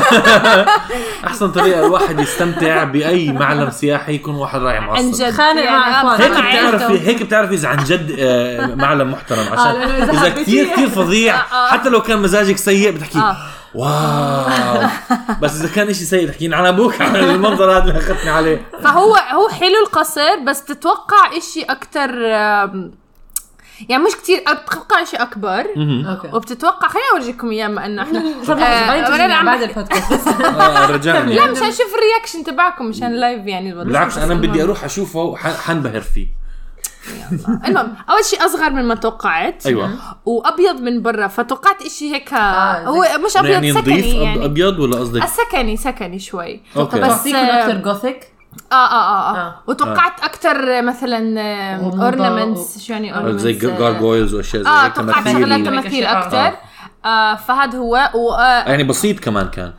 Speaker 2: احسن طريقه الواحد يستمتع باي معلم سياحي يكون واحد رايح معصب
Speaker 3: عن جد
Speaker 1: خانق
Speaker 3: يعني
Speaker 1: مع
Speaker 3: آه،
Speaker 1: إخوانه.
Speaker 2: هيك
Speaker 3: مع عيلته.
Speaker 2: بتعرفي هيك بتعرفي اذا عن جد آه، معلم محترم عشان
Speaker 1: لأنه إذا
Speaker 2: اذا
Speaker 1: حبيتيه.
Speaker 2: كثير كثير فظيع
Speaker 3: آه، آه.
Speaker 2: حتى لو كان مزاجك سيء بتحكي
Speaker 3: آه.
Speaker 2: واو بس اذا كان شيء سيء تحكين على ابوك على المنظر هذا اللي اخذتني عليه
Speaker 3: فهو هو حلو القصر بس تتوقع اشي اكتر آم، يعني مش كتير بتتوقع اشي اكبر
Speaker 1: اوكي
Speaker 3: وبتتوقع خليني اورجيكم اياه ما انه احنا
Speaker 1: طب
Speaker 3: آه،
Speaker 1: بعدين
Speaker 3: ولا
Speaker 1: تجيني
Speaker 3: أنا عم
Speaker 1: بعد البودكاست
Speaker 2: آه، رجعني
Speaker 3: لا مشان اشوف الرياكشن تبعكم مشان لايف يعني الوضع
Speaker 2: بالعكس انا بدي اروح اشوفه وح- حنبهر فيه
Speaker 3: المهم اول شيء اصغر من ما توقعت
Speaker 2: ايوه
Speaker 3: وابيض من برا فتوقعت اشي هيك
Speaker 1: آه، زي-
Speaker 3: هو مش ابيض
Speaker 2: يعني نظيف
Speaker 3: سكني
Speaker 2: أب- آه.
Speaker 3: يعني
Speaker 2: ابيض ولا قصدك
Speaker 3: سكني سكني شوي
Speaker 2: اوكي
Speaker 3: بس-
Speaker 1: بس يكون اكثر جوثيك
Speaker 3: اه اه اه, آه.
Speaker 1: آه.
Speaker 3: وتوقعت اكتر مثلا
Speaker 1: غموضة
Speaker 3: اورنمنتس شو يعني
Speaker 2: آه،
Speaker 3: اورنمنتس
Speaker 2: زي جارجويلز واشياء زي
Speaker 3: اه
Speaker 2: هيك،
Speaker 3: توقعت
Speaker 2: تماثيل.
Speaker 3: شغلات
Speaker 1: وهيك
Speaker 3: تماثيل
Speaker 1: أشياء.
Speaker 3: اكثر آه فهذا هو وشوي
Speaker 2: يعني بسيط كمان كان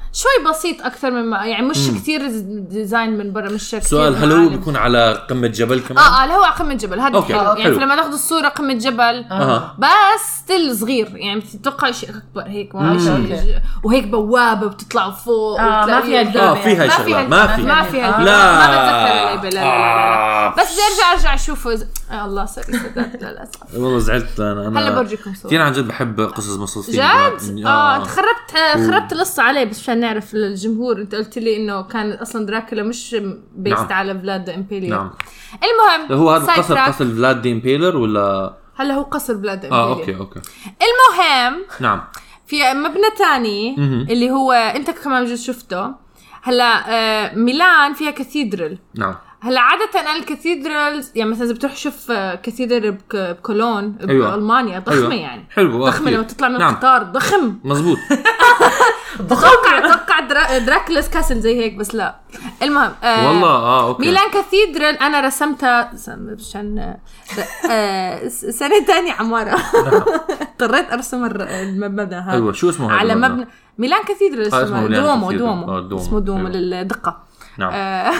Speaker 3: بسيط اكثر مما يعني مش كثير ديزاين من برا مش كتير
Speaker 2: سؤال هل هو
Speaker 3: معالم.
Speaker 2: بيكون على قمه جبل كمان؟
Speaker 3: اه اه لا هو على قمه جبل هذا
Speaker 2: أوكي،
Speaker 3: حلو
Speaker 2: آه،
Speaker 3: يعني
Speaker 2: حلو.
Speaker 3: لما تاخذ الصوره قمه جبل
Speaker 2: أها.
Speaker 3: بس ستيل صغير يعني بتتوقع شيء اكبر هيك ما
Speaker 1: مم.
Speaker 3: شيء- وهيك بوابه بتطلع فوق
Speaker 1: آه، ما فيها
Speaker 3: وتلاقي-
Speaker 1: الدابة.
Speaker 2: اه في هاي
Speaker 3: ما فيها
Speaker 2: الشغلات ما في
Speaker 3: ما فيها
Speaker 1: آه.
Speaker 3: الدابة.
Speaker 2: لا
Speaker 3: ما بتذكر اللعبة، لا لا لا, لا.
Speaker 2: آه.
Speaker 3: بس بدي ارجع ارجع اشوفه إذا- آه الله سوري صدقت للاسف
Speaker 2: والله زعلت انا انا
Speaker 3: هلا برجيكم صور.
Speaker 2: كثير عن جد بحب قصص مصاصين
Speaker 3: جد؟ اه انت خربت آه،
Speaker 2: و-
Speaker 3: خربت القصه عليه بس مشان نعرف للجمهور انت قلت لي انه كان اصلا دراكولا مش بيست
Speaker 2: نعم.
Speaker 3: على فلاد امبيريا
Speaker 2: نعم
Speaker 3: المهم
Speaker 2: هو هذا
Speaker 3: side
Speaker 2: قصر
Speaker 3: track.
Speaker 2: قصر فلاد دي امبيلر ولا
Speaker 3: هلا هو قصر فلاد امبيريا
Speaker 2: اه اوكي اوكي
Speaker 3: المهم
Speaker 2: نعم
Speaker 3: في مبنى تاني اللي هو انت كمان بجوز شفته هلا آه، ميلان فيها كاثيدرال
Speaker 2: نعم
Speaker 3: هلا عادة أنا الكاثيدرالز يعني مثلا إذا بتروح تشوف آه، كاثيدرال بك- بكولون
Speaker 2: أيوة.
Speaker 3: بألمانيا ضخمة
Speaker 2: أيوة.
Speaker 3: يعني
Speaker 2: حلو آه،
Speaker 3: ضخمة
Speaker 2: كتير.
Speaker 3: لما تطلع من
Speaker 2: نعم.
Speaker 3: القطار ضخم
Speaker 2: مزبوط
Speaker 3: اتوقع اتوقع درا- دراكلس كاسل زي هيك بس لا المهم آه،
Speaker 2: والله اه اوكي
Speaker 3: ميلان كاثيدرال انا رسمتها س- مشان آه، آه، س- سنه ثانيه عماره
Speaker 2: نعم.
Speaker 3: اضطريت ارسم الر- المبنى هذا
Speaker 2: ايوه شو اسمه هذا
Speaker 3: على
Speaker 2: المبنى؟
Speaker 3: مبنى ميلان كاثيدرال
Speaker 2: اسمه
Speaker 3: اسمه
Speaker 2: ميلان
Speaker 3: دومو
Speaker 2: كاثيدرال. آه،
Speaker 3: دومو
Speaker 2: دومو.
Speaker 3: اسمه دومو
Speaker 2: أيوة.
Speaker 3: للدقه
Speaker 2: نعم
Speaker 3: آه،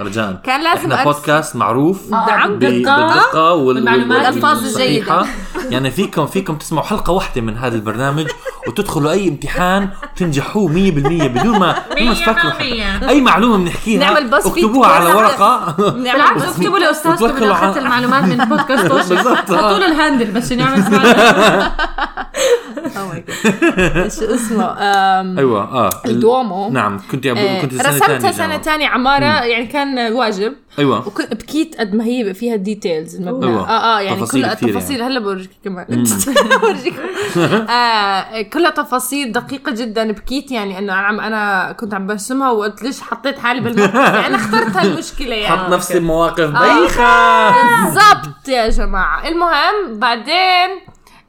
Speaker 2: رجاء
Speaker 3: كان لازم
Speaker 2: احنا
Speaker 3: أرس-
Speaker 2: بودكاست معروف
Speaker 3: نعم.
Speaker 2: ب-
Speaker 1: بالدقة
Speaker 2: بالدقة وال-
Speaker 1: والمعلومات
Speaker 2: وال-
Speaker 3: والألفاظ
Speaker 2: والصحيحة. يعني فيكم فيكم تسمعوا حلقة واحدة من هذا البرنامج وتدخلوا أي امتحان تنجحوه 100% بدون ما بدون ما تفكروا حتى. أي معلومة بنحكيها
Speaker 3: نعمل بوز فيت
Speaker 2: اكتبوها على
Speaker 3: كويس.
Speaker 2: ورقة
Speaker 1: بالعكس
Speaker 3: نعمل
Speaker 1: اكتبوا لاستاذكم
Speaker 2: وتوكلوا
Speaker 1: اذا اخذت
Speaker 2: على-
Speaker 1: المعلومات من بودكاست
Speaker 2: بالضبط،
Speaker 1: حطوا
Speaker 3: نعم،
Speaker 2: آه.
Speaker 1: له الهاندل بس عشان يعمل سمعنا.
Speaker 3: ماي جاد شو اسمه آم،
Speaker 2: ايوه اه ال-
Speaker 3: الدومو.
Speaker 2: نعم كنت عم-
Speaker 3: آه،
Speaker 2: كنت سنه
Speaker 3: رسمتها
Speaker 2: ثانيه
Speaker 3: سنه ثانيه عماره يعني كان واجب
Speaker 2: ايوه
Speaker 3: وكنت بكيت قد ما هي فيها الديتيلز المبنى
Speaker 2: أوه.
Speaker 3: اه اه يعني
Speaker 2: تفاصيل
Speaker 3: كلها
Speaker 2: كثير
Speaker 3: تفاصيل هلا بورجيك كمان بورجيك آه كلها تفاصيل دقيقه جدا بكيت يعني انه انا عم انا كنت عم برسمها وقلت ليش حطيت حالي بالموقف يعني انا اخترت هالمشكله يعني
Speaker 2: حط نفسي بمواقف
Speaker 3: آه.
Speaker 2: بايخه
Speaker 3: بالضبط يا جماعه المهم بعدين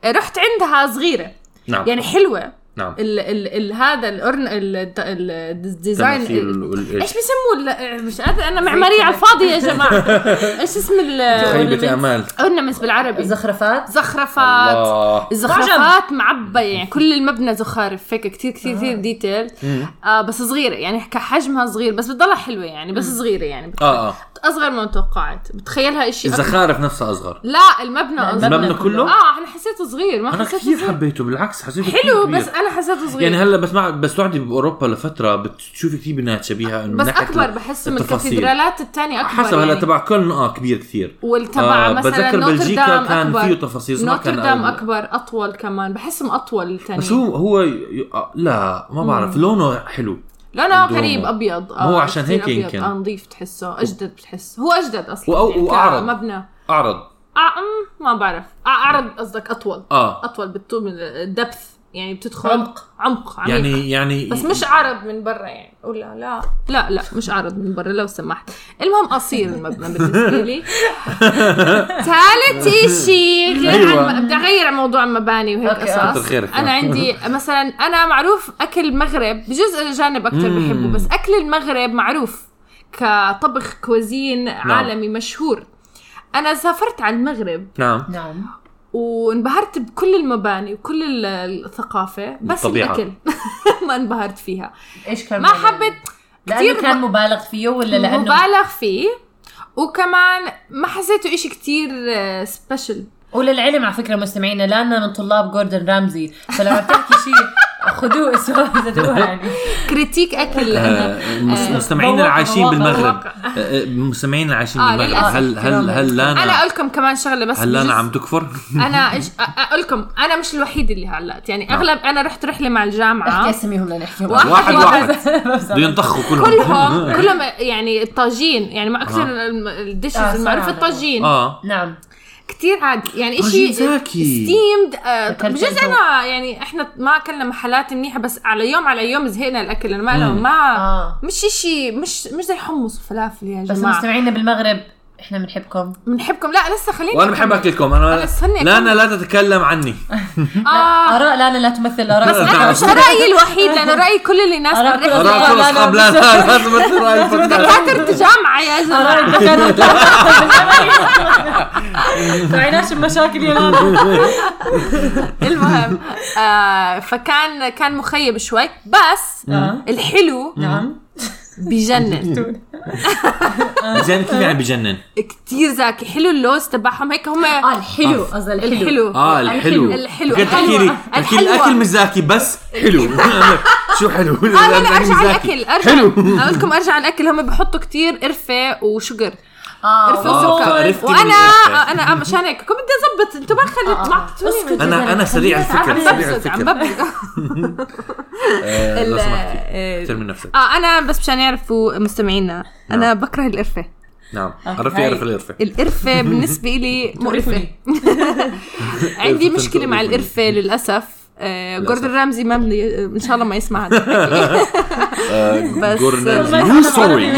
Speaker 3: رحت عندها صغيره
Speaker 2: نعم
Speaker 3: يعني حلوه
Speaker 2: نعم
Speaker 3: ال ال ال هذا الأرن ال- الت- ال- الديزاين
Speaker 2: التماثيل
Speaker 3: ال-
Speaker 2: وال-
Speaker 3: ايش بيسموه ال- مش قادر انا معماريه على الفاضي يا جماعه ايش اسم
Speaker 2: خيبه
Speaker 3: ال
Speaker 2: امال
Speaker 3: اورنمنتس بالعربي
Speaker 1: زخرفات
Speaker 3: زخرفات
Speaker 2: الله
Speaker 3: زخرفات معبية يعني كل المبنى زخارف هيك كثير كثير كثير ديتيل آه بس صغيرة يعني كحجمها صغير بس بتضلها حلوة يعني بس صغيرة يعني بت-
Speaker 2: اه اه
Speaker 3: أصغر ما توقعت بتخيلها إشي أكبر.
Speaker 2: الزخارف نفسها اصغر
Speaker 3: لا المبنى أصغر
Speaker 2: المبنى كله؟
Speaker 3: اه انا حسيته صغير ما
Speaker 2: انا
Speaker 3: حسيته
Speaker 2: كثير
Speaker 3: صغير
Speaker 2: حبيته بالعكس حسيته كثير
Speaker 3: حلو
Speaker 2: كبير.
Speaker 3: بس انا حسيته صغير
Speaker 2: يعني هلا بس مع بس تقعدي باوروبا لفتره بتشوفي كثير بنات شبيهه انه
Speaker 3: بس
Speaker 2: من ناحية
Speaker 3: اكبر
Speaker 2: ال-
Speaker 3: بحس من
Speaker 2: التفاصيل.
Speaker 3: الكاتدرالات الثانية اكبر
Speaker 2: حسب هلا
Speaker 3: يعني.
Speaker 2: تبع كولن اه كبير كثير
Speaker 3: والتبع
Speaker 2: آه،
Speaker 3: مثلا
Speaker 2: بتذكر
Speaker 3: نوتردام
Speaker 2: بلجيكا كان
Speaker 3: أكبر.
Speaker 2: فيه تفاصيل، بس ما كان
Speaker 3: نوتردام يعني.
Speaker 2: أول.
Speaker 3: اكبر اطول كمان بحسهم اطول الثانية
Speaker 2: بس هو هو ي- ي- آه، لا ما بعرف لونه حلو
Speaker 3: لونه
Speaker 2: الدومو.
Speaker 3: غريب ابيض
Speaker 2: ما هو عشان
Speaker 3: كتير
Speaker 2: هيك
Speaker 3: أبيض.
Speaker 2: يمكن.
Speaker 3: اه نظيف تحسه اجدد بتحس هو اجدد اصلا
Speaker 2: وأو- وأعرض.
Speaker 3: مبنى آه،
Speaker 2: اعرض
Speaker 3: ما بعرف آه، اعرض قصدك اطول
Speaker 2: اه
Speaker 3: اطول بالطول من الدبث يعني بتدخل
Speaker 1: عمق.
Speaker 3: عمق عميق.
Speaker 2: يعني يعني
Speaker 3: بس مش عرض من برا يعني ولا لا لا لا مش عرض من برا لو سمحت المهم قصير المبنى بالنسبه لي ثالث شيء غير
Speaker 2: أيوة.
Speaker 3: عن بدي اغير عن موضوع المباني وهيك
Speaker 1: أوكي، آه.
Speaker 2: كتر
Speaker 3: قصص
Speaker 2: خيرك.
Speaker 3: انا عندي مثلا انا معروف اكل المغرب بجزء الاجانب اكثر
Speaker 2: مم.
Speaker 3: بحبه بس اكل المغرب معروف كطبخ كوزين عالمي مشهور انا سافرت على المغرب
Speaker 2: نعم
Speaker 1: نعم
Speaker 3: وانبهرت بكل المباني وكل ال- الثقافه بس
Speaker 2: بالطبيعة.
Speaker 3: الاكل ما انبهرت فيها
Speaker 1: ايش كان
Speaker 3: ما حبيت كتير
Speaker 1: لانه كان مبالغ فيه ولا لانه
Speaker 3: مبالغ فيه وكمان ما حسيته إشي كتير آه، سبيشل
Speaker 1: وللعلم على فكره مستمعينا لاننا من طلاب جوردن رامزي فلما بتحكي شيء خذوه اسواه زدوه يعني
Speaker 3: كريتيك أكل أنا.
Speaker 2: آه، مس-
Speaker 3: آه،
Speaker 2: مستمعينا
Speaker 1: بواقع-
Speaker 2: العايشين
Speaker 1: بواقع-
Speaker 2: بالمغرب
Speaker 3: بواقع.
Speaker 2: آه، آه، مستمعينا العايشين
Speaker 3: آه،
Speaker 2: بالمغرب
Speaker 3: للأسف.
Speaker 2: هل هل هل
Speaker 3: أنا
Speaker 2: لانا
Speaker 3: أقول لكم كمان شغلة بس
Speaker 2: هل لانا
Speaker 3: بجزء-
Speaker 2: عم تكفر؟
Speaker 3: أنا إيش أقول لكم أنا مش الوحيد اللي هلأت يعني
Speaker 2: نعم.
Speaker 3: أغلب أنا رحت رحلة مع
Speaker 1: احكي
Speaker 3: الجامعة
Speaker 1: اسميهم لنحكي
Speaker 3: آه. واحد
Speaker 2: واحد واحد بده
Speaker 1: واحد
Speaker 2: ينطخوا كلهم
Speaker 3: كلهم كلهم يعني الطاجين يعني ما
Speaker 2: نعم.
Speaker 3: أكثر الديشز
Speaker 1: آه،
Speaker 3: المعروف
Speaker 1: صراحة.
Speaker 3: الطاجين
Speaker 2: اه
Speaker 1: نعم
Speaker 3: كتير عادي يعني
Speaker 2: طاجين
Speaker 3: إشي
Speaker 2: زاكي.
Speaker 3: ستيمد
Speaker 1: أكلت
Speaker 3: بجوز
Speaker 1: أنت.
Speaker 3: أنا يعني إحنا ما أكلنا محلات منيحة بس على يوم على يوم زهقنا الأكل أنا ما
Speaker 2: مم.
Speaker 3: ما
Speaker 1: اه
Speaker 3: مش اشي مش مش زي حمص وفلافل يا
Speaker 1: بس
Speaker 3: جماعه
Speaker 1: مستمعينا بالمغرب احنا بنحبكم
Speaker 3: بنحبكم لا لسه خليني
Speaker 2: وانا بحب اكلكم انا
Speaker 3: أنا استني
Speaker 2: لانا لا تتكلم عني
Speaker 3: اه
Speaker 1: اراء لانا لا تمثل اراء
Speaker 3: انا مش رايي الوحيد لانه راي كل اللي الناس
Speaker 1: أراك
Speaker 3: بالرحلة.
Speaker 1: رأي-
Speaker 2: اراء كل
Speaker 1: لا، لا، لا.
Speaker 2: اصحاب لانا لا تمثل رأي البودكاست.
Speaker 3: دكاتره جامعه يا
Speaker 1: اراء
Speaker 3: جماعه
Speaker 1: الدكاتره تعيناش بمشاكل يا لانا
Speaker 3: المهم آه فكان كان مخيب شوي بس
Speaker 1: آه.
Speaker 3: الحلو
Speaker 1: نعم
Speaker 3: بجنن
Speaker 2: بجنن كيف يعني بجنن؟
Speaker 3: كتير زاكي حلو اللوز تبعهم هيك هم
Speaker 1: اه الحلو قصدي الحلو
Speaker 3: آه. الحلو
Speaker 2: اه الحلو
Speaker 3: الحلو.
Speaker 2: كنت تحكي لي
Speaker 3: الحلوة.
Speaker 2: تحكي لي
Speaker 3: الحلوة.
Speaker 2: الاكل مش زاكي بس حلو شو حلو؟
Speaker 3: اه لا لا ارجع على
Speaker 2: زاكي.
Speaker 3: الاكل ارجع
Speaker 2: حلو
Speaker 3: اقول لكم ارجع على الاكل هم بحطوا كتير قرفه وشجر
Speaker 1: اه
Speaker 3: قرفه
Speaker 2: آه،
Speaker 3: وسكر آه،
Speaker 2: فقرفتي
Speaker 3: وانا
Speaker 2: بالقرفة.
Speaker 3: انا عشان هيك كنت بدي اظبط انتوا ما
Speaker 2: آه،
Speaker 3: خليت ما
Speaker 1: اسكت
Speaker 3: اعطيتوني
Speaker 1: يا زلمة.
Speaker 2: انا انا سريع
Speaker 1: خلينا
Speaker 2: الفكر
Speaker 1: نتعامل.
Speaker 2: سريع
Speaker 3: ببسط عم
Speaker 2: الفكر
Speaker 3: ببسط
Speaker 2: آه، لو
Speaker 3: ال-
Speaker 2: سمحتي
Speaker 3: آه،
Speaker 2: احترمي نفسك
Speaker 3: اه انا بس مشان يعرفوا مستمعينا
Speaker 2: آه.
Speaker 3: انا بكره القرفه
Speaker 2: نعم
Speaker 1: آه،
Speaker 2: عرفي
Speaker 1: هاي.
Speaker 2: عرفي القرفه
Speaker 3: القرفه بالنسبه لي مقرفه
Speaker 1: مقرفة
Speaker 3: عندي
Speaker 2: قرفة
Speaker 3: مشكله مع
Speaker 2: تقرفني.
Speaker 3: القرفه للاسف آه،
Speaker 2: للأسف.
Speaker 3: جوردن رامزي ما بدي ان شاء الله ما يسمع هذا الحكي. بس-
Speaker 2: يو سوري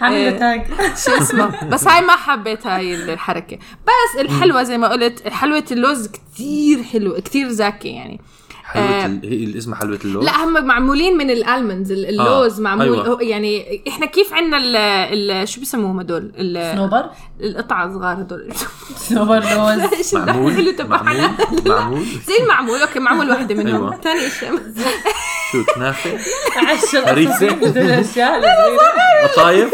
Speaker 1: حامل تاج
Speaker 3: آه، شو اسمه بس هاي ما حبيت هاي الحركه بس الحلوه زي ما قلت حلوه اللوز كتير حلو كتير زاكي يعني
Speaker 2: حلوه
Speaker 3: آه.
Speaker 2: ال- هي اللي اسمها حلوه اللوز
Speaker 3: لا هم معمولين من الالمندز ال- اللوز
Speaker 2: آه،
Speaker 3: معمول
Speaker 2: أيوة.
Speaker 3: أيوة. يعني احنا كيف عندنا ال ال شو بيسموهم هدول ال-
Speaker 1: سنوبر
Speaker 3: القطع الصغار هدول
Speaker 1: سنوبر لوز
Speaker 3: ايش الدخل
Speaker 2: معمول معمول
Speaker 3: تبعنا
Speaker 2: معمول
Speaker 3: زي المعمول اوكي معمول وحده منهم
Speaker 2: أيوة.
Speaker 3: ثاني شيء
Speaker 2: شو كنافه
Speaker 1: عشر
Speaker 2: هريسة.
Speaker 1: الاشياء الصغيرة.
Speaker 2: قطايف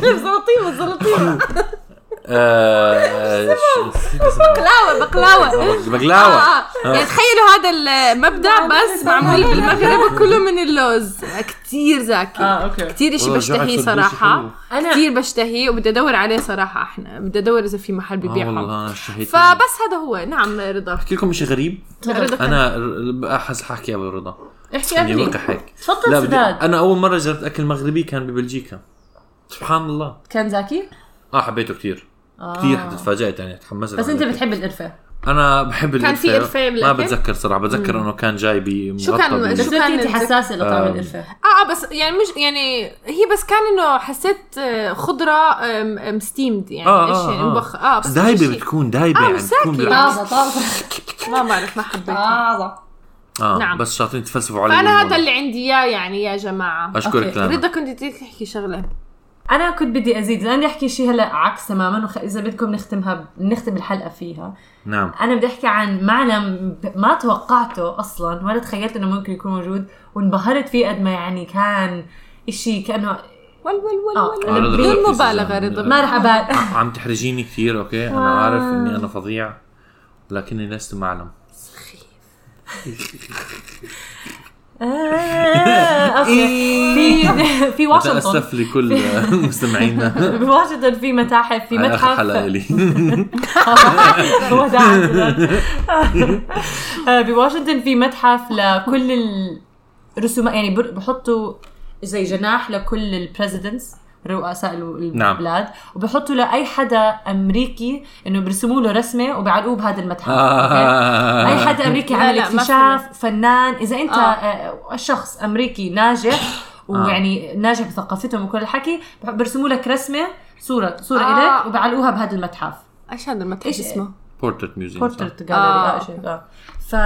Speaker 3: زلطيمه زلطيمه
Speaker 2: آه، ش- شو اسمها؟
Speaker 3: بقلاوه بقلاوه
Speaker 2: بقلاوة.
Speaker 3: آه، آه. يعني تخيلوا هذا المبدا بس معمول بالمغرب وكله من اللوز كتير زاكي
Speaker 1: اه اوكي
Speaker 3: كتير اشي
Speaker 2: والله جوعت
Speaker 3: بشتهيه
Speaker 2: صدقوش حلو.
Speaker 3: صراحة
Speaker 1: أنا-
Speaker 3: كتير بشتهيه وبدي ادور عليه صراحة احنا بدي ادور اذا في محل
Speaker 2: آه،
Speaker 3: ببيعهم
Speaker 2: والله انا شهيت
Speaker 3: فبس هذا هو نعم رضا
Speaker 2: احكي لكم شيء غريب
Speaker 3: رضا كان-
Speaker 2: انا ر- احس حاحكي ابو رضا
Speaker 3: احكي
Speaker 2: يعني
Speaker 3: أغنية.
Speaker 2: وقح هيك
Speaker 1: تفضل
Speaker 2: لا بدي
Speaker 1: سداد
Speaker 2: انا اول مره جربت اكل مغربي كان ببلجيكا سبحان الله
Speaker 1: كان زاكي؟
Speaker 2: اه حبيته كثير
Speaker 1: آه.
Speaker 2: كثير حتى تفاجات يعني تحمست
Speaker 1: بس انت
Speaker 2: عليه.
Speaker 1: بتحب القرفه
Speaker 2: انا بحب
Speaker 3: كان في
Speaker 2: القرفة.
Speaker 3: قرفة
Speaker 2: ما
Speaker 3: بالأكل؟
Speaker 2: بتذكر صراحه بتذكر انه كان جاي بمغطى
Speaker 3: شو كان-
Speaker 2: بال-
Speaker 3: شو
Speaker 1: بس
Speaker 3: كان
Speaker 1: انت
Speaker 3: الزك-
Speaker 1: حساسه لطعم
Speaker 2: آه.
Speaker 1: القرفه
Speaker 3: اه اه بس يعني مش يعني هي بس كان انه حسيت آه، خضرة مستيمد يعني
Speaker 2: آه،
Speaker 3: ايش
Speaker 2: آه،
Speaker 3: يعني
Speaker 2: آه.
Speaker 3: مبخ اه بس مش
Speaker 2: دايبه
Speaker 3: شي.
Speaker 2: بتكون دايبه
Speaker 3: آه،
Speaker 2: يعني بتكون
Speaker 3: مساكي.
Speaker 2: بالعكس.
Speaker 1: طازه طازه
Speaker 3: ما بعرف ما
Speaker 1: آه.
Speaker 3: حبيتها
Speaker 1: طازه
Speaker 2: اه
Speaker 3: نعم.
Speaker 2: بس شاطرين تفلسفوا علي
Speaker 3: فانا
Speaker 2: بالمرة.
Speaker 3: هذا اللي عندي اياه يعني يا جماعة
Speaker 2: اشكرك
Speaker 1: أوكي.
Speaker 2: لنا
Speaker 3: رضا كنت بدك تحكي شغلة
Speaker 1: انا كنت بدي ازيد لاني احكي شيء هلا عكس تماما وخ... اذا بدكم نختمها ب... نختم الحلقه فيها
Speaker 2: نعم
Speaker 1: انا بدي احكي عن معلم ب- ما توقعته اصلا ولا تخيلت انه ممكن يكون موجود وانبهرت فيه قد ما يعني كان إشي كانه
Speaker 3: ول ول ول
Speaker 1: آه.
Speaker 3: ول
Speaker 1: آه، رضا
Speaker 3: بدون
Speaker 2: رضا
Speaker 3: مبالغة
Speaker 2: كيف
Speaker 3: رضا
Speaker 1: ما رح ابال
Speaker 2: عم تحرجيني كثير اوكي انا
Speaker 3: آه.
Speaker 2: عارف اني انا فظيع لكني لست معلم
Speaker 1: آه، اوكي في في واشنطن
Speaker 2: اتاسف لكل مستمعينا آه،
Speaker 1: بواشنطن في متاحف في
Speaker 2: على اخر
Speaker 1: متحف
Speaker 2: حلقه لي
Speaker 1: آه، وداعاً كمان. آه، بواشنطن في متحف لكل الرسومات يعني بر- بحطوا زي جناح لكل البريزيدنتس رؤساء ال-
Speaker 2: نعم.
Speaker 1: البلاد وبحطوا لاي حدا امريكي انه برسموا له رسمه وبعلقوه بهذا المتحف
Speaker 2: آه.
Speaker 1: أوكي؟ اي حدا امريكي
Speaker 3: لا،
Speaker 1: عمل
Speaker 3: لا، ما
Speaker 1: اكتشاف فنان اذا انت
Speaker 3: آه.
Speaker 1: آه. شخص امريكي ناجح ويعني ناجح بثقافتهم وكل الحكي برسموا لك رسمه صوره صوره
Speaker 3: آه.
Speaker 1: آه. الك وبعلقوها بهذا المتحف
Speaker 3: ايش آه، هذا المتحف
Speaker 1: إيش- آه،
Speaker 3: اسمه؟
Speaker 2: بورتريت ميوزيوم
Speaker 1: بورتريت جاليري
Speaker 3: آه،
Speaker 1: اه شيء اه ف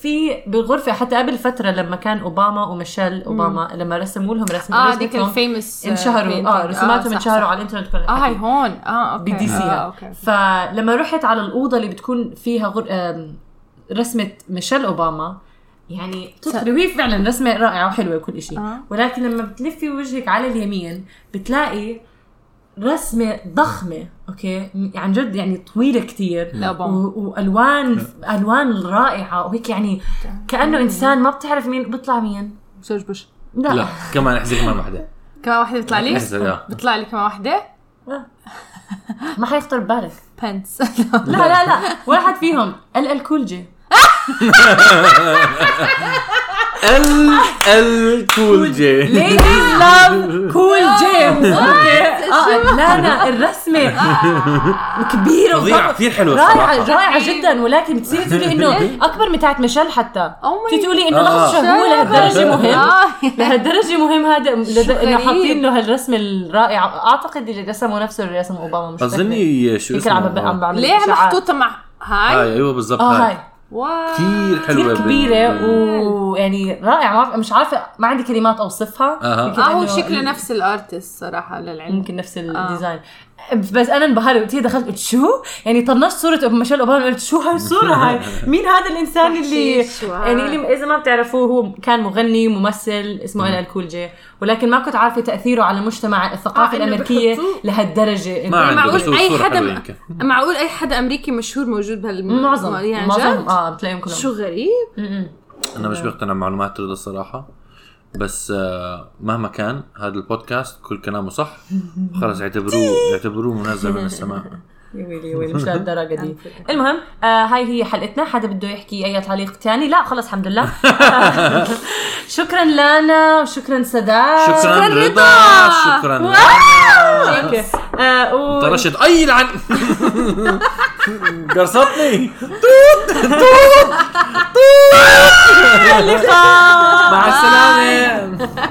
Speaker 1: في بالغرفه حتى قبل فتره لما كان اوباما وميشيل اوباما لما رسموا لهم رسم
Speaker 3: اه
Speaker 1: رسمتهم
Speaker 3: ديك الفيمس
Speaker 1: انشهروا
Speaker 3: آه،
Speaker 1: اه رسوماتهم انشهروا على الانترنت كل
Speaker 3: اه هاي
Speaker 1: الحكي
Speaker 3: هون اه اوكي
Speaker 1: بدي
Speaker 3: اه
Speaker 1: سيها
Speaker 3: اوكي
Speaker 1: فلما رحت على الاوضه اللي بتكون فيها غر... آم، رسمه ميشيل اوباما يعني تطري وهي فعلا رسمه رائعه وحلوه وكل شيء
Speaker 3: آه.
Speaker 1: ولكن لما بتلفي وجهك على اليمين بتلاقي رسمه ضخمه اوكي م- عن جد يعني طويله كتير
Speaker 3: لا بوم
Speaker 1: و- والوان الوان رائعه وهيك يعني
Speaker 3: Mm.
Speaker 1: كانه انسان ما بتعرف مين بيطلع مين
Speaker 3: جورج بوش
Speaker 1: لا,
Speaker 2: لا كمان احزي كمان واحده
Speaker 3: كمان واحدة بتطلع لي؟
Speaker 2: احزي آه.
Speaker 3: بتطلع لي كمان واحدة؟
Speaker 1: ما حيخطر ببالك
Speaker 3: بنس
Speaker 1: لا لا لا واحد فيهم ال الكولجي
Speaker 2: ال ال كول جي
Speaker 1: ليديز لاف كول جيم Ah, لا لا الرسمه كبيره
Speaker 2: فظيعة،
Speaker 1: وضخمة.
Speaker 2: كثير حلوة
Speaker 1: رائعه
Speaker 2: صراحة.
Speaker 1: رائعه جدا ولكن بتصيري تقولي انه اكبر من تاعت ميشيل حتى
Speaker 3: Oh my
Speaker 1: بتصيري تقولي انه
Speaker 2: God.
Speaker 1: لحظه شو هو لهالدرجه مهم
Speaker 3: آه.
Speaker 1: لهالدرجه مهم هذا لد- انه
Speaker 3: غريب.
Speaker 1: حاطين له هالرسمه الرائعه اعتقد اللي رسمه نفسه اللي رسمه اوباما مش متأكدة.
Speaker 2: اظني شو
Speaker 1: يمكن عم عم
Speaker 2: اسمه
Speaker 1: بعمل
Speaker 3: ليه
Speaker 1: إشاعات.
Speaker 3: محطوطة مع
Speaker 2: هاي
Speaker 3: آه، هاي؟
Speaker 2: ايوه بالضبط
Speaker 1: اه هاي
Speaker 2: هاي
Speaker 3: واو
Speaker 2: كثير حلوه
Speaker 1: كثير
Speaker 2: بال-
Speaker 1: كبيره
Speaker 2: بال-
Speaker 1: ويعني رائعه ما بعرف- مش عارفه ما عندي كلمات اوصفها
Speaker 2: أها.
Speaker 1: يمكن
Speaker 3: اه هو
Speaker 1: إنه-
Speaker 3: شكله نفس الارتست صراحة للعلم
Speaker 1: ممكن نفس الديزاين بس انا انبهرت هي دخلت قلت شو يعني طنشت صوره ميشيل اوباما قلت شو هالصوره هاي مين هذا الانسان اللي
Speaker 3: وحشيش، واو.
Speaker 1: يعني اللي اذا ما بتعرفوه هو كان مغني ممثل اسمه انا الكولجي ولكن ما كنت عارفه تاثيره على المجتمع الثقافه
Speaker 3: آه، إنه
Speaker 1: الامريكيه
Speaker 3: بحطوه.
Speaker 1: لهالدرجه
Speaker 2: ما عندي
Speaker 3: معقول
Speaker 2: بس هو
Speaker 3: أي
Speaker 2: الصورة
Speaker 3: حدا
Speaker 2: حلوة
Speaker 3: م-
Speaker 2: يمكن.
Speaker 3: معقول اي حدا امريكي مشهور موجود بهال
Speaker 1: معظم
Speaker 3: يعني
Speaker 1: معظم
Speaker 3: جد؟
Speaker 1: اه بتلاقيهم كلهم
Speaker 3: شو غريب
Speaker 1: م-م.
Speaker 2: انا مش بقتنع بمعلومات رضا الصراحه بس آه، مهما كان هذا البودكاست كل كلامه صح خلص اعتبروه اعتبروه منزل من السماء
Speaker 1: يا ويلي يا ويلي مش لهالدرجه دي المهم آه هاي هي حلقتنا حدا بده يحكي اي تعليق تاني لا خلص الحمد لله شكرا لانا وشكرا سداد
Speaker 2: شكرا رضا شكرا
Speaker 1: اوكي آه و...
Speaker 2: طرشت اي لعن قرصتني
Speaker 1: اللقاء